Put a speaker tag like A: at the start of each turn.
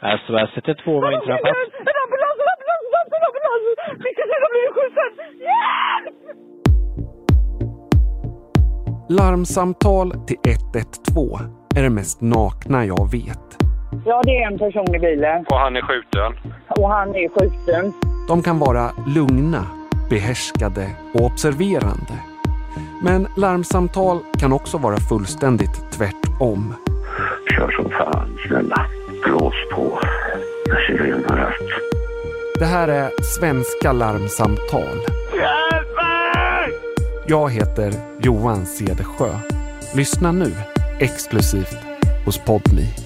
A: Alltså jag sätter två var intrappat.
B: En ambulans, en ambulans, en ambulans, en ambulans! Skicka till, de blir skjutsad! Hjälp!
C: Larmsamtal till 112 är det mest nakna jag vet.
B: Ja, det är en person i bilen
D: Och han är skjuten.
B: och han är skjuten.
C: De kan vara lugna, behärskade och observerande. Men larmsamtal kan också vara fullständigt tvärtom.
E: Kör som fan, snälla. Blås på. Jag sirenar allt.
C: Det här är Svenska larmsamtal.
D: Hjälp mig!
C: Jag heter Johan Cedersjö. Lyssna nu exklusivt hos Podmi.